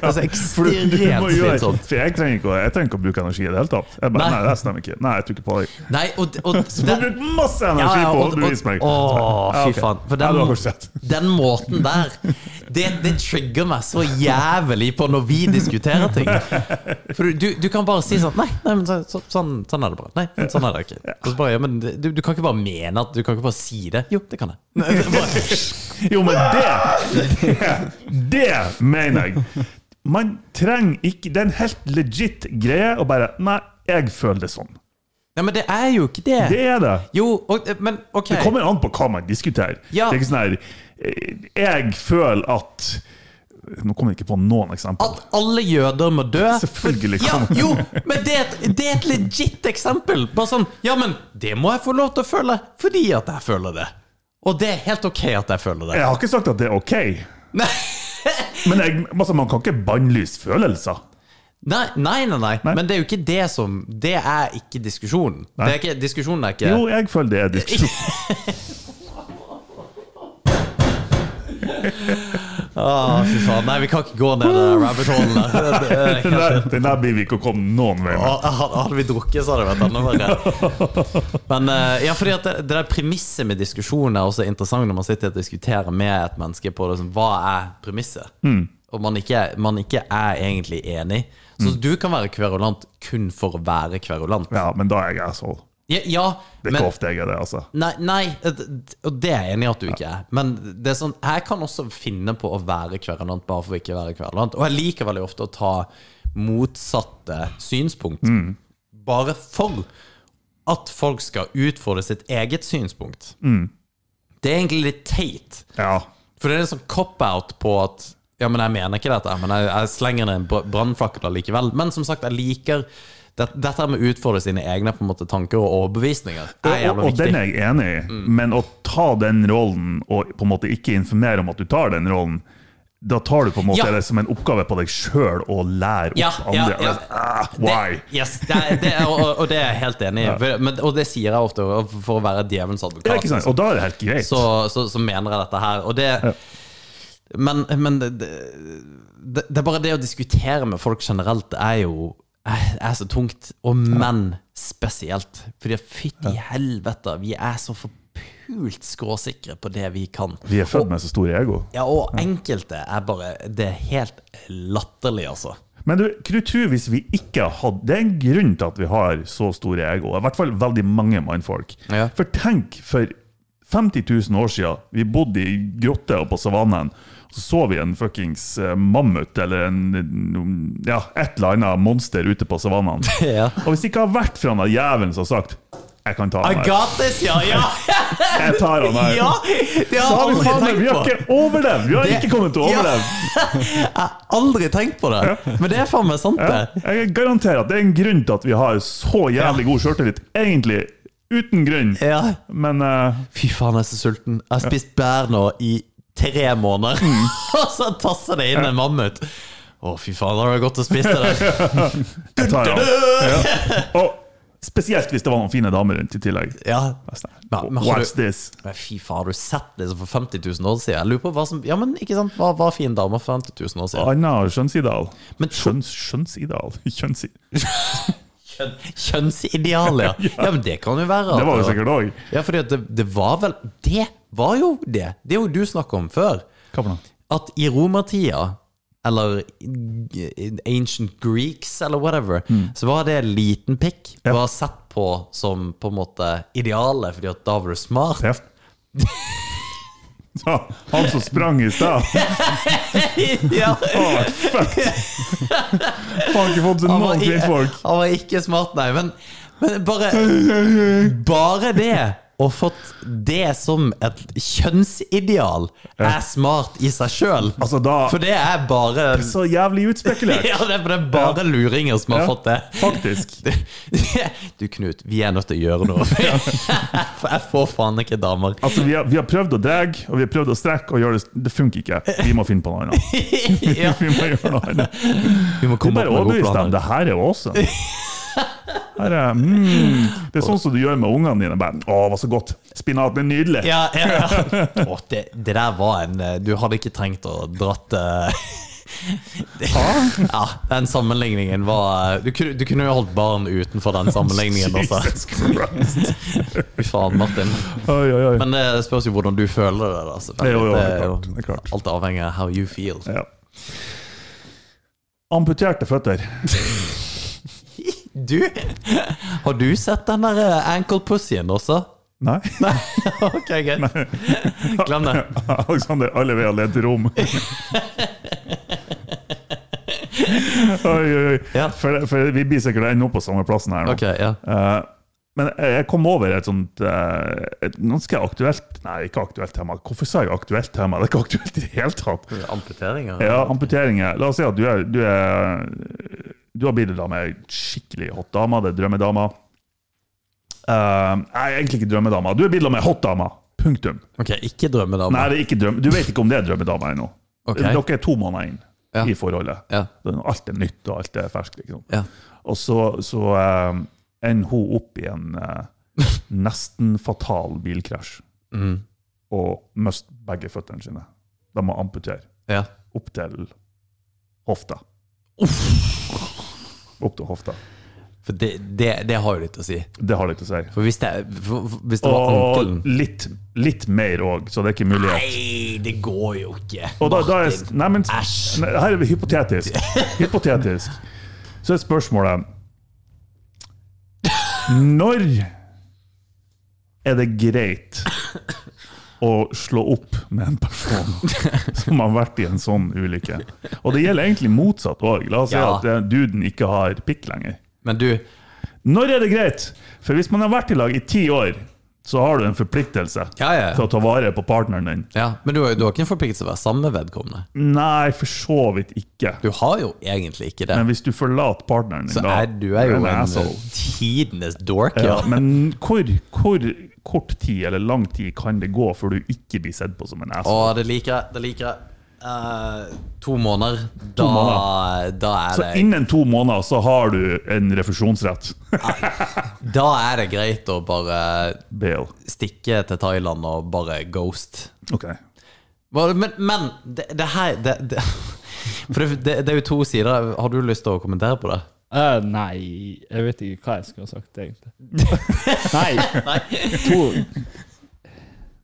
Altså For, du, ekstremt du må gjøre, slitsomt. for jeg trenger ikke å, jeg trenger ikke å bruke energi i det hele tatt. Jeg bare, sånn. Nei. nei, det stemmer ikke. Nei, jeg tror ikke på deg. Nei, og, og Du må bruke masse energi på å overbevise meg. Å, Ja, fy ok. faen. For Ja, den, du har kanskje sett. den måten der Det, det trigger meg så jævlig på når vi diskuterer ting. For du, du, du kan bare si sånn Nei, nei men så, så, sånn, sånn er det bare. Nei, men sånn er det ikke. Og så bare, ja, men du, du kan ikke bare mene at Du kan ikke bare si det. Jo, det kan jeg. Nei, det er bare, Jo, men det, det Det mener jeg! Man trenger ikke Det er en helt legit greie å bare Nei, jeg føler det sånn. nei, men det er jo ikke det. Det er det. Jo, og, eh, men OK. Det kommer an på hva man diskuterer. Ja. Det er ikke sånn her eh, Jeg føler at Nå kommer jeg ikke på noen eksempler. At alle jøder må dø. Selvfølgelig Ja, kan man- jo, men det er, et, det er et legit eksempel. Bare sånn Ja, men det må jeg få lov til å føle fordi at jeg føler det. Og det er helt OK at jeg føler det. Jeg har ikke sagt at det er ok, Nei, men jeg, altså, man kan ikke bannlyse følelser. nei, nei, nei, nei. Nei. Men det er jo ikke det som Det er ikke diskusjonen. Det er ikke, diskusjonen er ikke Jo, jeg føler det er diskusjon. Å, fy faen. Nei, vi kan ikke gå ned det rabbit holen (laughs) der. Det- det- Den der, den der blir vi ikke å komme noen vei med. Å, Hadde hadde vi drukket, så hadde det vært enda verre. Men eh, ja, fordi at det, det der premisset med diskusjon er også interessant når man sitter og diskuterer med et menneske på det, sånn, hva er premisset? Mm. Og man ikke, man ikke er egentlig enig. Så du kan være kverulant kun for å være kverulant. Mm. Ja, men da er jeg asshole. Ja, ja Det er ikke men ofte jeg er det, altså. Nei, nei, et- og det er jeg enig i at du ikke er. Men det er sånn, jeg kan også finne på å være kverulant bare for å ikke være kverulant. Og jeg liker veldig ofte å ta motsatte synspunkt. Mm. Bare for at folk skal utfordre sitt eget synspunkt. Mm. Det er egentlig litt teit. Ja. For det er en sånn cop-out på at Ja, men jeg mener ikke dette, men jeg, jeg slenger ned en br- brannfakkel likevel. Men som sagt, jeg liker det, dette her med å utfordre sine egne på en måte, tanker og overbevisninger. Det er Og, og, jævla og den viktig. Mm. er jeg enig i, men å ta den rollen og på en måte ikke informere om at du tar den rollen, da tar du på en måte Ja. det som en oppgave på deg sjøl å lære opp Ja, ja, andre. ja. Ah, why? Det, yes, det er, det er, og, og det er jeg helt (laughs) enig i. For- Men, og det sier jeg ofte og for å være djevelens Ja, advokat. ikke sant? Og da er det helt greit. Så, så, så mener jeg dette her. Og det Men, men det, det, det er bare det å diskutere med folk generelt er jo er er så tungt. Og menn spesielt. Fordi fytti helvete, vi er så forpult skråsikre på det vi kan. Vi er født med så stor ego. Ja, og enkelte er bare Det er helt latterlig, altså. Men du, hva du tror hvis vi ikke hadde Det er en grunn til at vi har så store ego. I hvert fall veldig mange mannfolk. Ja. For tenk, for 50 000 år siden vi bodde i grotter og på savannen. Så så vi en fuckings eh, mammut eller en, ja, et eller annet monster ute på (laughs) savannen. Ja. Og hvis det ikke har vært for han der jævelen som har sagt 'jeg kan ta I han her', got this, ja! Ja! jeg tar han her ja det så har har jeg vi aldri faen meg Vi har tenkt på. ikke overlevd! Vi har Det- ikke kommet til å Ja. overleve! Jeg har aldri tenkt på det, men det er faen meg sant, det. Ja, jeg garanterer at det er en grunn til at vi har så jævlig god sjøltillit. Egentlig uten grunn. Ja. Men eh, Fy faen, jeg er så sulten. Jeg har spist bær nå i tre måneder, Mm. (laughs) og så tasser det inn en mammut. Å, fy faen, da har det godt å spise det (laughs) der. jeg tar av. (laughs) Ja. Og spesielt hvis det var noen fine damer rundt i tillegg. Ja. Ja, men har What's du, this? men fy faen, har du sett det som for 50 000 år siden? Jeg lurer på hva som Ja, men ikke sant? Hva var fin dame for 50 000 år siden? Anna Skjønnsidal. Men tro- Skjønns, skjønnsidal? (laughs) (laughs) Kjønnsi... Kjønn, kjønnsideal, (laughs) ja. ja. Men det kan jo være. at Det var jo var- sikkert òg. Ja, fordi at det, det var vel Det var jo det. Det er jo du snakker om før. Hva for noe? At i romertida, eller i- i ancient greeks, eller whatever, så var det liten pikk. Mm. Ja. Var sett på som på en måte idealet, fordi at da var du smart. (laughs) Teft? Ja, han som sprang (laughs) i stad, ja. har vært fucked! Faen, ikke fått seg Han var, noen i- (laughs) kvinnfolk. han var ikke smart, nei. Men, men bare, bare det, og fått det som et kjønnsideal, er smart i seg sjøl. Altså, da For det er bare Så jævlig utspekulert. (laughs) Ja, det er det er bare luringer som har Ja, fått det. Faktisk. (laughs) Du, Knut, vi er nødt til å gjøre (laughs) noe. (laughs) For jeg får faen ikke damer. Altså, vi har, vi har prøvd å dra, og vi har prøvd å strekke, og gjøre det, det funker ikke. Vi må finne på (laughs) noe annet. (laughs) (laughs) Ja, Vi må gjøre noe annet. vi må Vi komme bare opp med gode overbevise dem. planer. Det her er jo (laughs) awesome. Her er, mm, det er sånn som du gjør med ungene dine. Bare, å, det var så godt. Spinaten er nydelig. (laughs) Ja, ja. Å, det, det der var en eh, (laughs) Du hadde ikke trengt å dratt eh, Ja, den sammenligningen var eh, Du, kunne- du kunne jo holdt barn utenfor den sammenligningen også. (laughs) Jesus Christ. Fy faen, Martin. Oi, oi, oi. Men eh, det spørs jo hvordan du føler det. da selvfølgelig. Jo, jo, det er jo klart, det er klart. Alt avhenger av how you feel. (laughs) Ja. Amputerte føtter. Du, (laughs) har du sett den der eh, ankle pussyen også? Nei. Nei? (laughs) Ok, greit. Glem det. (laughs) Alexander Allevea led til (laughs) rom. oi, oi, oi. Ja. For, for vi blir sikkert ennå på samme plassen her nå. Ok, ja. Eh, men jeg kom over et sånt eh, et ganske aktuelt Nei, ikke aktuelt tema. Hvorfor sa jeg aktuelt tema? Det er ikke aktuelt i det hele tatt. Amputeringer? Ja, amputeringer. La oss si at du er Du, er, du har bilder av meg skikkelig hot dame. Det er drømmedama. Eh, nei, egentlig ikke drømmedama. Du er bilder av meg hot dama. Punktum. Ok, ikke drømmedame. Nei, det er ikke drøm. Du vet ikke om det er drømmedama ennå. Ok. Dere er to måneder inn Ja. i forholdet. Ja. Alt er nytt, og alt er ferskt. Liksom. Ja. Og så, så eh, ender hun opp i en eh, nesten fatal bilkrasj Mm. og mister begge føttene sine. De må amputere ja. opp til hofta. Opp til hofta. For det, det, det har jo litt å si. Det har litt å si. For hvis det, for, for- hvis det var Og ankelen litt, litt mer òg, så det er ikke mulighet. Nei, det går jo ikke. Og da, da er, Martin. nei, men, Æsj. nei, her er vi hypotetisk. (laughs) Hypotetisk. Så er spørsmålet Når er det greit å slå opp med en person som har vært i en sånn ulykke? Og det gjelder egentlig motsatt òg. La oss si Ja. at eh, duden ikke har pikk lenger. Men du, Når er det greit? For hvis man har vært i lag i ti år, så har du en forpliktelse Ja, ja. til å ta vare på partneren din. ja, men du, har- du har ikke en forpliktelse til å være sammen med vedkommende. Mm. Nei, for så vidt ikke. Du har jo egentlig ikke det. Men hvis du forlater partneren din, Så da er du er jo en en asshole. tidenes dork, Ja, ja. men hvor, hvor kort tid eller lang tid kan det gå før du ikke blir sett på som en Å, asshole? det liker jeg. Det liker jeg. Eh, to måneder. Da, måneder. da er Så det innen to måneder så har du en refusjonsrett. (laughs) Da er det greit å bare Bail. stikke til Thailand og bare ghost. Ok. Hva- Men, men det, det her det, det, (laughs) For det, det, det er jo to sider. Har du lyst til å kommentere på det? Eh, nei, jeg vet ikke hva jeg skulle ha sagt, egentlig. (laughs) nei, to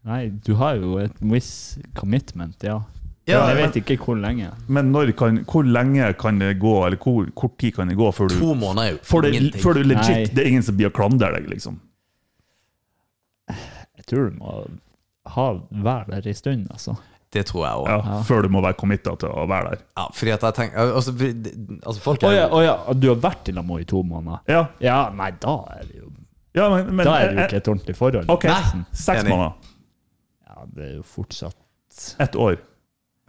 Nei, du har jo et viss commitment, ja. Ja, jeg men- vet ikke hvor lenge. Men når kan, hvor lenge kan det gå, eller hvor kort tid kan det gå før du To måneder er jo før det, ingenting. før du legit, Nei. det er ingen som blir å klandre deg, liksom? Jeg tror du må ha være der en stund, altså. Det tror jeg òg. Ja, Ja. Før du må være committa til å være der. fordi at jeg tenker Altså, fordi det- altså folk Å er ja, jo å ja, du har vært i Lamo i to måneder? Ja, Ja, nei, da er det jo ja men, men eh, Da er det jo ikke et ordentlig forhold. Ok, Nei. seks Enig. måneder. Ja, det er jo fortsatt Ett år.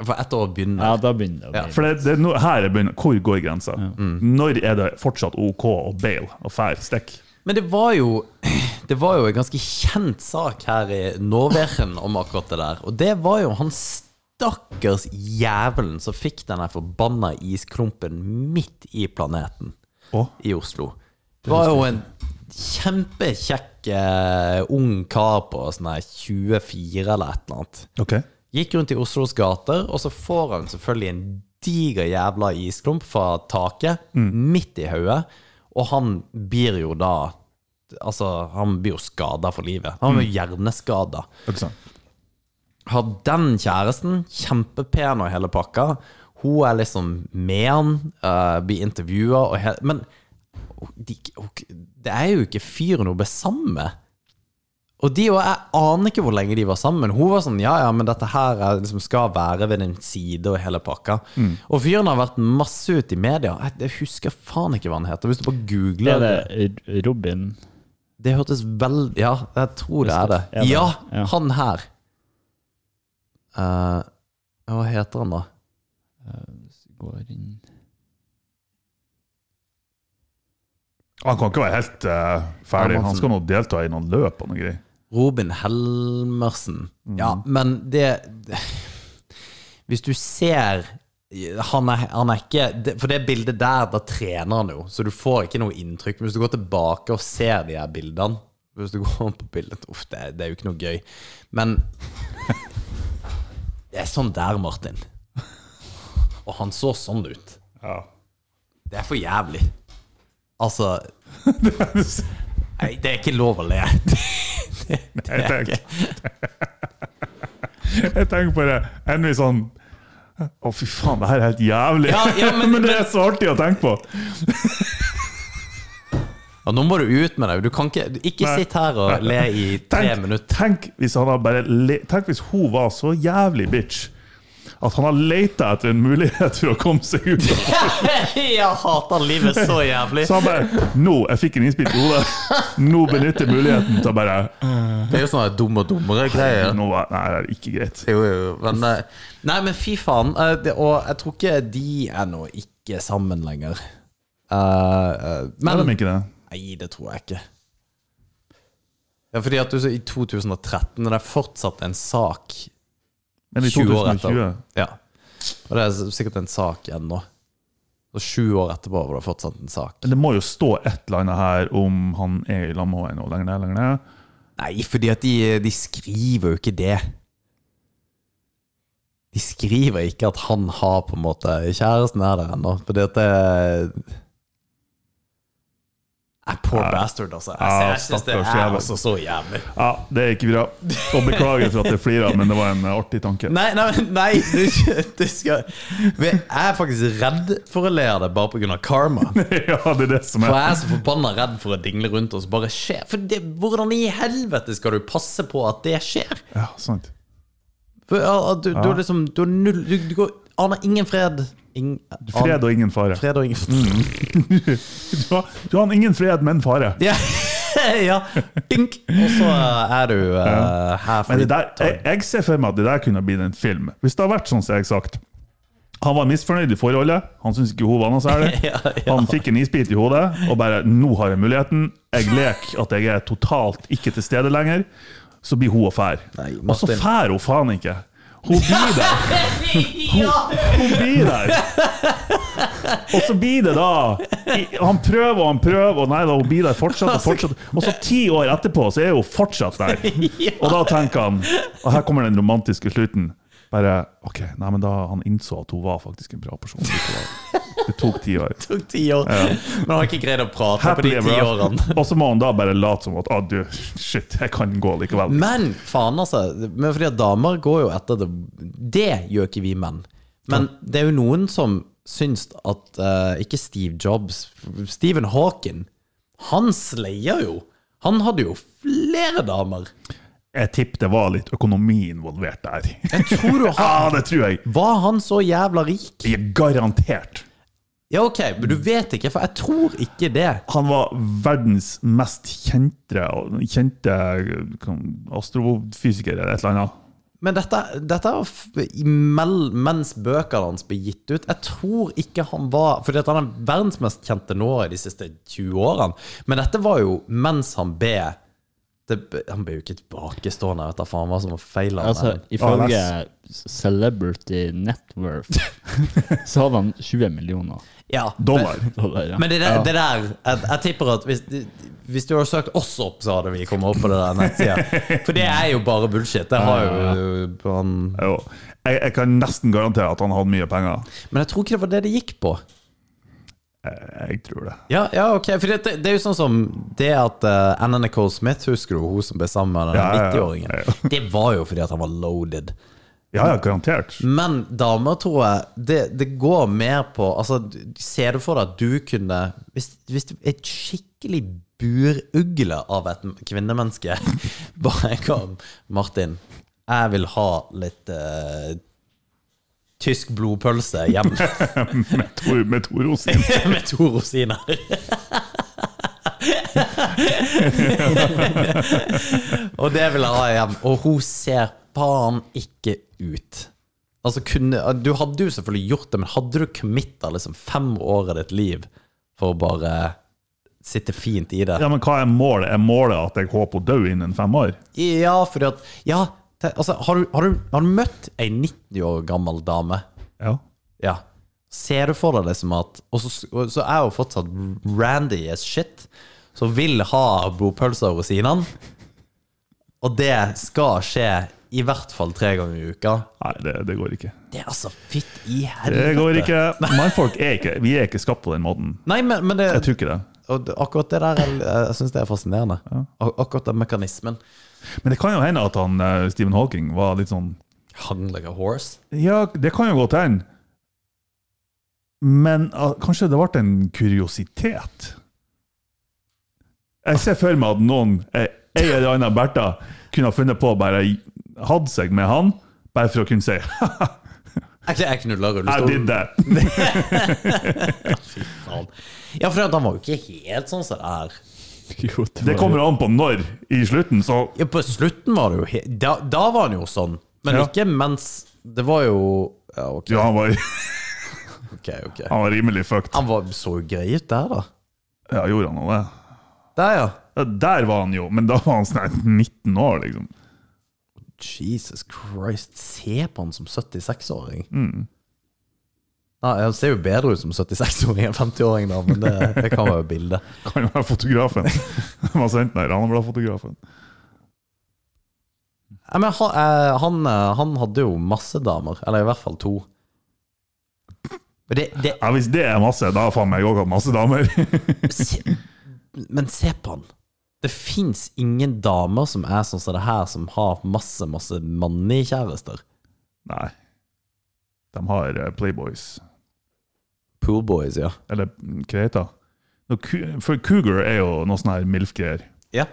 For ett år begynner Ja, da begynner det Ja, å bli For det, det er no, her er begynner, Hvor går grensa? Når er det fortsatt OK å bail og fær stikk? Men det var jo (clears throat) Det var jo en ganske kjent sak her i Norwegen om akkurat det der. Og det var jo han stakkars jævelen som fikk den der forbanna isklumpen midt i planeten Å? i Oslo. Det var jo en kjempekjekk eh, ung kar på sånn her 24 eller et eller annet. Ok. Gikk rundt i Oslos gater, og så får han selvfølgelig en diger jævla isklump fra taket midt i hodet, og han blir jo da Altså, han blir jo skada for livet. Han blir hjerneskada. Ikke sant? Har den kjæresten, kjempepen og hele pakka, hun er liksom med han, eh, blir intervjua og he Men de, det er jo ikke fyren hun ble sammen med. Og de og jeg aner ikke hvor lenge de var sammen. Hun var sånn ja, ja, men dette her er, liksom, skal være ved din side og hele pakka. Og fyren har vært masse ute i media. Jeg, jeg husker faen ikke hva han heter. Hvis du bare Er googler det det Robin Det hørtes vel Ja, jeg tror det er det. Er det? Ja, Ja. han her. Eh, hva heter han, da? eh, går inn Han kan ikke være helt eh, ferdig. Han skal nå delta i noen løp og noe greier. Robin Helmersen. Ja, men det Hvis du ser han er, han er ikke det- For det bildet der, da trener han jo, så du får ikke noe inntrykk. Men hvis du går tilbake og ser de her bildene Hvis du går på bildet Uff, det, det er jo ikke noe gøy. Men det er sånn der, Martin. og han så sånn ut. Ja. Det er for jævlig. Altså Nei, det er ikke lov å le. (laughs) Jeg tenker, jeg tenker på det enn hvis sånn Å, fy faen, det her er helt jævlig! Ja, ja, men- (laughs) men, det er så artig å tenke på! Ja, nå må du ut med deg. Du kan ikke Ikke Nei. sitt her og le i tre Tenk, minutter. (laughs) tenk, hvis han har bare le, tenk hvis hun var så jævlig bitch at han har leita etter en mulighet for å komme seg ut. Jeg hater livet så jævlig. Så han bare Nå, jeg fikk en innspill i hodet. Nå benytter jeg muligheten til å bare Det er jo sånne dumme og dummere (laughs) greier. Nå var, Nei, det er ikke greit. Jo, jo, jo, men eh, Nei, men fy faen. eh, det- Og jeg tror ikke de er nå ikke sammen lenger. Eh, eh, Er de men ikke det? Nei, det tror jeg ikke. Ja, fordi at du så i 2013 Det er fortsatt en sak Men i 20 år etter. 2020 Ja. Og det er s- sikkert en sak ennå. Og sju år etterpå var det fortsatt en sak. Men det må jo stå et eller annet her om han er i lag med henne ennå. Lenger ned, lenger ned. Nei, fordi at de, de skriver jo ikke det. De skriver ikke at han har på en måte Kjæresten er der ennå, fordi at det Nei, Poor bastard, altså. Jeg, Ja, jeg syns det stakkars er jævel. altså så jævlig. Ja, det er ikke bra. Og beklager for at jeg flirer, men det var en eh, artig tanke. Nei, nei, men- nei du, du skal Jeg er faktisk redd for å le av det bare pga. (laughs) karma. (laughs) ja, det er det som For er jeg er så forbanna redd for å dingle rundt og så bare skje. For det, hvordan i helvete skal du passe på at det skjer? Ja, sant. For, ja, at du, du, er liksom, du, er null, du, du går, aner ingen fred. Ing, Fred Mm. og ingen fare. fred og ingen Du har, du har ingen fred, men fare. ja. (laughs) ja. Dink! Og så er du eh, her for Men (laughs) det der, jeg, jeg ser for meg at det der kunne blitt en film. Hvis det har vært sånn som jeg har sagt. Han var misfornøyd i forholdet, han syntes ikke hun var noe særlig. (laughs) Ja, ja. Han fikk en isbit i hodet og bare 'Nå har jeg muligheten'. Jeg leker at jeg er totalt ikke til stede lenger. Så blir hun og fær. Nei, Og så Martin. fær hun faen ikke. Hun blir der. Hun blir der. (laughs) Og så blir det da i- Han prøver og han prøver, og nei da, hun blir der fortsatt. Altså, Og fortsatt Og så ti år etterpå så er hun fortsatt (laughs) der. Og da tenker han Og her kommer den romantiske slutten. Bare OK, nei, men da han innså at hun var faktisk en bra person. likevel. Det tok (laughs) ti år. tok ti år. Men han har ikke greid å prate på Happy de ever ti after. årene. (laughs) Og så må han da bare late som at ah, du, shit, jeg kan gå likevel. Men faen, altså. Men fordi at damer går jo etter det. Det gjør ikke vi menn. Men det er jo noen som syns at eh, Ikke Steve Jobs, Stephen Hawking. Han sleier jo. Han hadde jo flere damer. Jeg tipper det var litt økonomi involvert (laughs) der. Tror du Ja, han det tror jeg. Var han så jævla rik? Jeg er garantert. Ja, ok, men du vet ikke, for jeg tror ikke det. Han var verdens mest kjente, kjente kan- astrofysiker eller et eller annet. Men dette, dette er jo f- i mell- mens bøkene hans ble gitt ut. Jeg tror ikke han var For han er verdens mest kjente nå i de siste 20 årene. Men dette var jo mens han ble det, Han ble jo ikke tilbakestående. Vet du faen hva som var feil av Altså, han. ifølge Celebrity (laughs) Networth så hadde han 20 millioner Ja, Dollar. dollar. Ja. Men det, der- det der jeg, jeg tipper at hvis, hvis du hadde søkt oss opp, så hadde vi kommet opp på det der nettsida. For det er jo bare bullshit. Det har jo han Jo. Jeg, jeg kan nesten garantere at han hadde mye penger. Men jeg tror ikke det var det det gikk på. Jeg, jeg tror det. Ja, ja ok, for det, det er jo sånn som det at eh, Anna Nicole Smith, husker du hun som ble sammen med den Ja, ja, ja. 90-åringen? Ja, Det var jo fordi at han var loaded. Ja, ja, garantert. Men damer, tror jeg, det, det går mer på Altså, du- ser du for deg at du kunne Hvis, hvis du- et skikkelig burugle av et kvinnemenneske (laughs) bare kom Martin, jeg vil ha litt eh, tysk blodpølse hjemme. Tor, med Tor Rosin. (laughs) med to rosiner. og det vil jeg ha hjem. Og hun ser faen ikke ut. Altså, kunne, du hadde jo selvfølgelig gjort det, men hadde du committa liksom fem år av ditt liv for å bare sitte fint i det? Ja, men hva er målet? Er målet at jeg håper hun dør innen fem år? Ja, fordi at Ja, te, altså, har du, har du, har du møtt ei 90 år gammel dame? Ja. Ja. Ser du for deg liksom at Og så, og så er jo fortsatt Randy as shit, som vil ha blodpølser og rosinene. Og det skal skje i hvert fall tre ganger i uka. Nei, det, det går ikke. Det er altså fitt i helvete. Det går ikke. Mannfolk er ikke Vi er ikke skapt på den måten. Nei, men, men det, Jeg tror ikke det. og det- akkurat det der jeg, jeg syns det er fascinerende. Ak akkurat den mekanismen. Men det kan jo hende at han, eh, Stephen Hawking var litt sånn Hung like a horse. Ja, det kan jo godt hende. Men ah, kanskje det ble en kuriositet? Jeg ser for meg at noen, eh, ei eller annen Bertha, kunne ha funnet på å bare hadde seg med han, bare for å kunne si (laughs) Jeg, jeg knulla I did rullestolen. that. Faen. Ja, for han var jo ikke helt sånn som det er. Jo, Det kommer an på når i slutten, så Ja, på slutten var det jo he da, da var han jo sånn, men Ja. ikke mens Det var jo Ja, ok, Ja, han var, ok. ok han var rimelig fucked. Han var, så jo grei ut der, da. Ja, gjorde han noe? Der, ja. Ja, Der var han jo, men da var han snart 19 år, liksom. Jesus Christ, se på han som 76-åring. Nei, Han ser jo bedre ut som 76-åring enn 50-åring, da, men det, det kan være bildet. Kan jo være fotografen. (laughs) Han har sendt meg Ranabladet-fotografen. Nei, men han, eh, han, eh, han hadde jo masse damer, eller i hvert fall to. Men Det, det, Ja, hvis det er masse, da har faen meg òg hatt masse damer. (laughs) se, men se på han. Det fins ingen damer som er sånn som det her, som har masse, masse mannlige kjærester. Nei. De har eh, Playboys. Poolboys, ja. Eller mm, hva heter det? Nå, ku- For Cougar er jo noe sånn her MILF-greier. ja.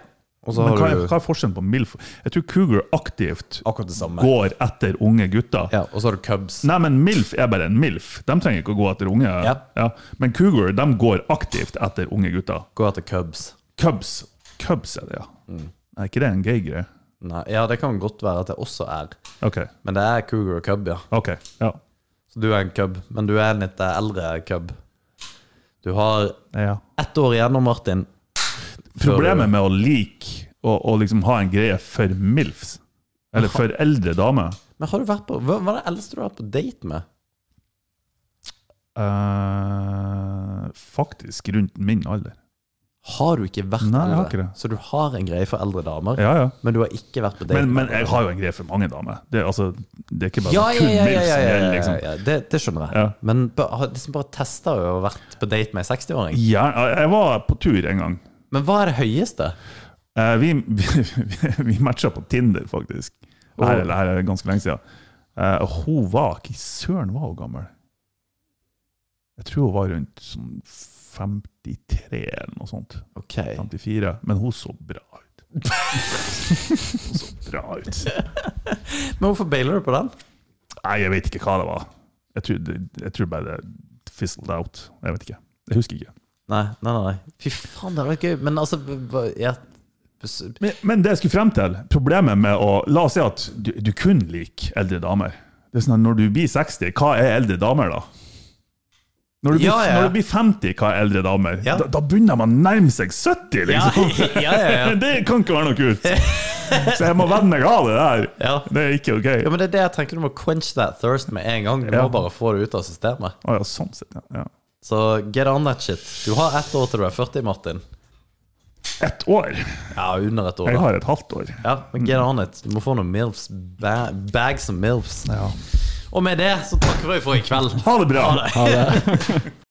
Og så Men har hva er, du hva er forskjellen på MILF? Jeg tror Cougar aktivt akkurat det samme. går etter unge gutter. Ja, og så har du Cubs. Nei, men MILF er bare en MILF. De trenger ikke å gå etter unge. Ja. Men Cougar de går aktivt etter unge gutter. Gå etter Cubs. Cubs. Cubs er det, ja. Mm. Er ikke det en gay greie? Nei, ja, det kan godt være at det også er. OK. Men det er cougar og cub, ja. ok, ja. Så du er en cub, men du er en litt eh, eldre cub. Du har ja. ett år igjen nå, Martin. Problemet med å like og, og liksom ha en greie for MILFs, eller for eldre damer Men har du vært på Hva hva er det eldste du har vært på date med? eh, Faktisk rundt min alder. Har du ikke vært Nei, jeg eldre? har ikke det. Så du har en greie for eldre damer, Ja, ja. men du har ikke vært på date Men, men med jeg har jo en greie for mange damer. Det, er altså, det er ikke bare ja, ja, kun ja, ja, MILFs ja, ja, som gjelder, ja, liksom. ja. Det, det skjønner jeg. Ja. Men ba- har liksom bare testa og vært på date med en 60-åring. Gjerne- jeg var på tur en gang. Men hva er det høyeste? Eh, vi (laughs) vi, vi matcha på Tinder, faktisk. Det her, det her er ganske lenge siden. Eh, og hun var Hva søren var hun gammel? Jeg tror hun var rundt sånn 53 eller noe sånt. Ok. 54. Men hun så bra ut. hun så bra ut. Men hvorfor bailer du på den? Nei, jeg vet ikke hva det var. Jeg tror, det- jeg tror bare det fizzled out. Jeg vet ikke. Jeg husker ikke. Nei, nei, nei. nei. Fy faen, det hadde vært gøy. Men altså hva- ja, Men, men det jeg skulle frem til, problemet med å La oss si at du, du kun liker eldre damer. Det er sånn at Når du blir 60, hva er eldre damer da? Når du, blir, Ja, ja. når du blir 50, hva er eldre damer? Ja. Da, da begynner man å nærme seg 70, liksom! (laughs) ja, ja, (laughs) ja. Det kan ikke være noe kult! Så jeg må venne meg av det der. (laughs) Ja. Det er ikke OK. Ja, men det er det jeg tenker. Du må quench that thirst med en gang. Du Ja. må bare få det ut av systemet. Å ja, sånn sett, ja. ja. Så get on that shit. Du har ett år til du er 40, Martin. Ett år. Ja, under et år. Jeg da. har et halvt år. Ja, men get on it. Du må få noen MILFs. Ba bag some MILFs. Ja. Og med det så takker vi for i kveld. Ha det bra!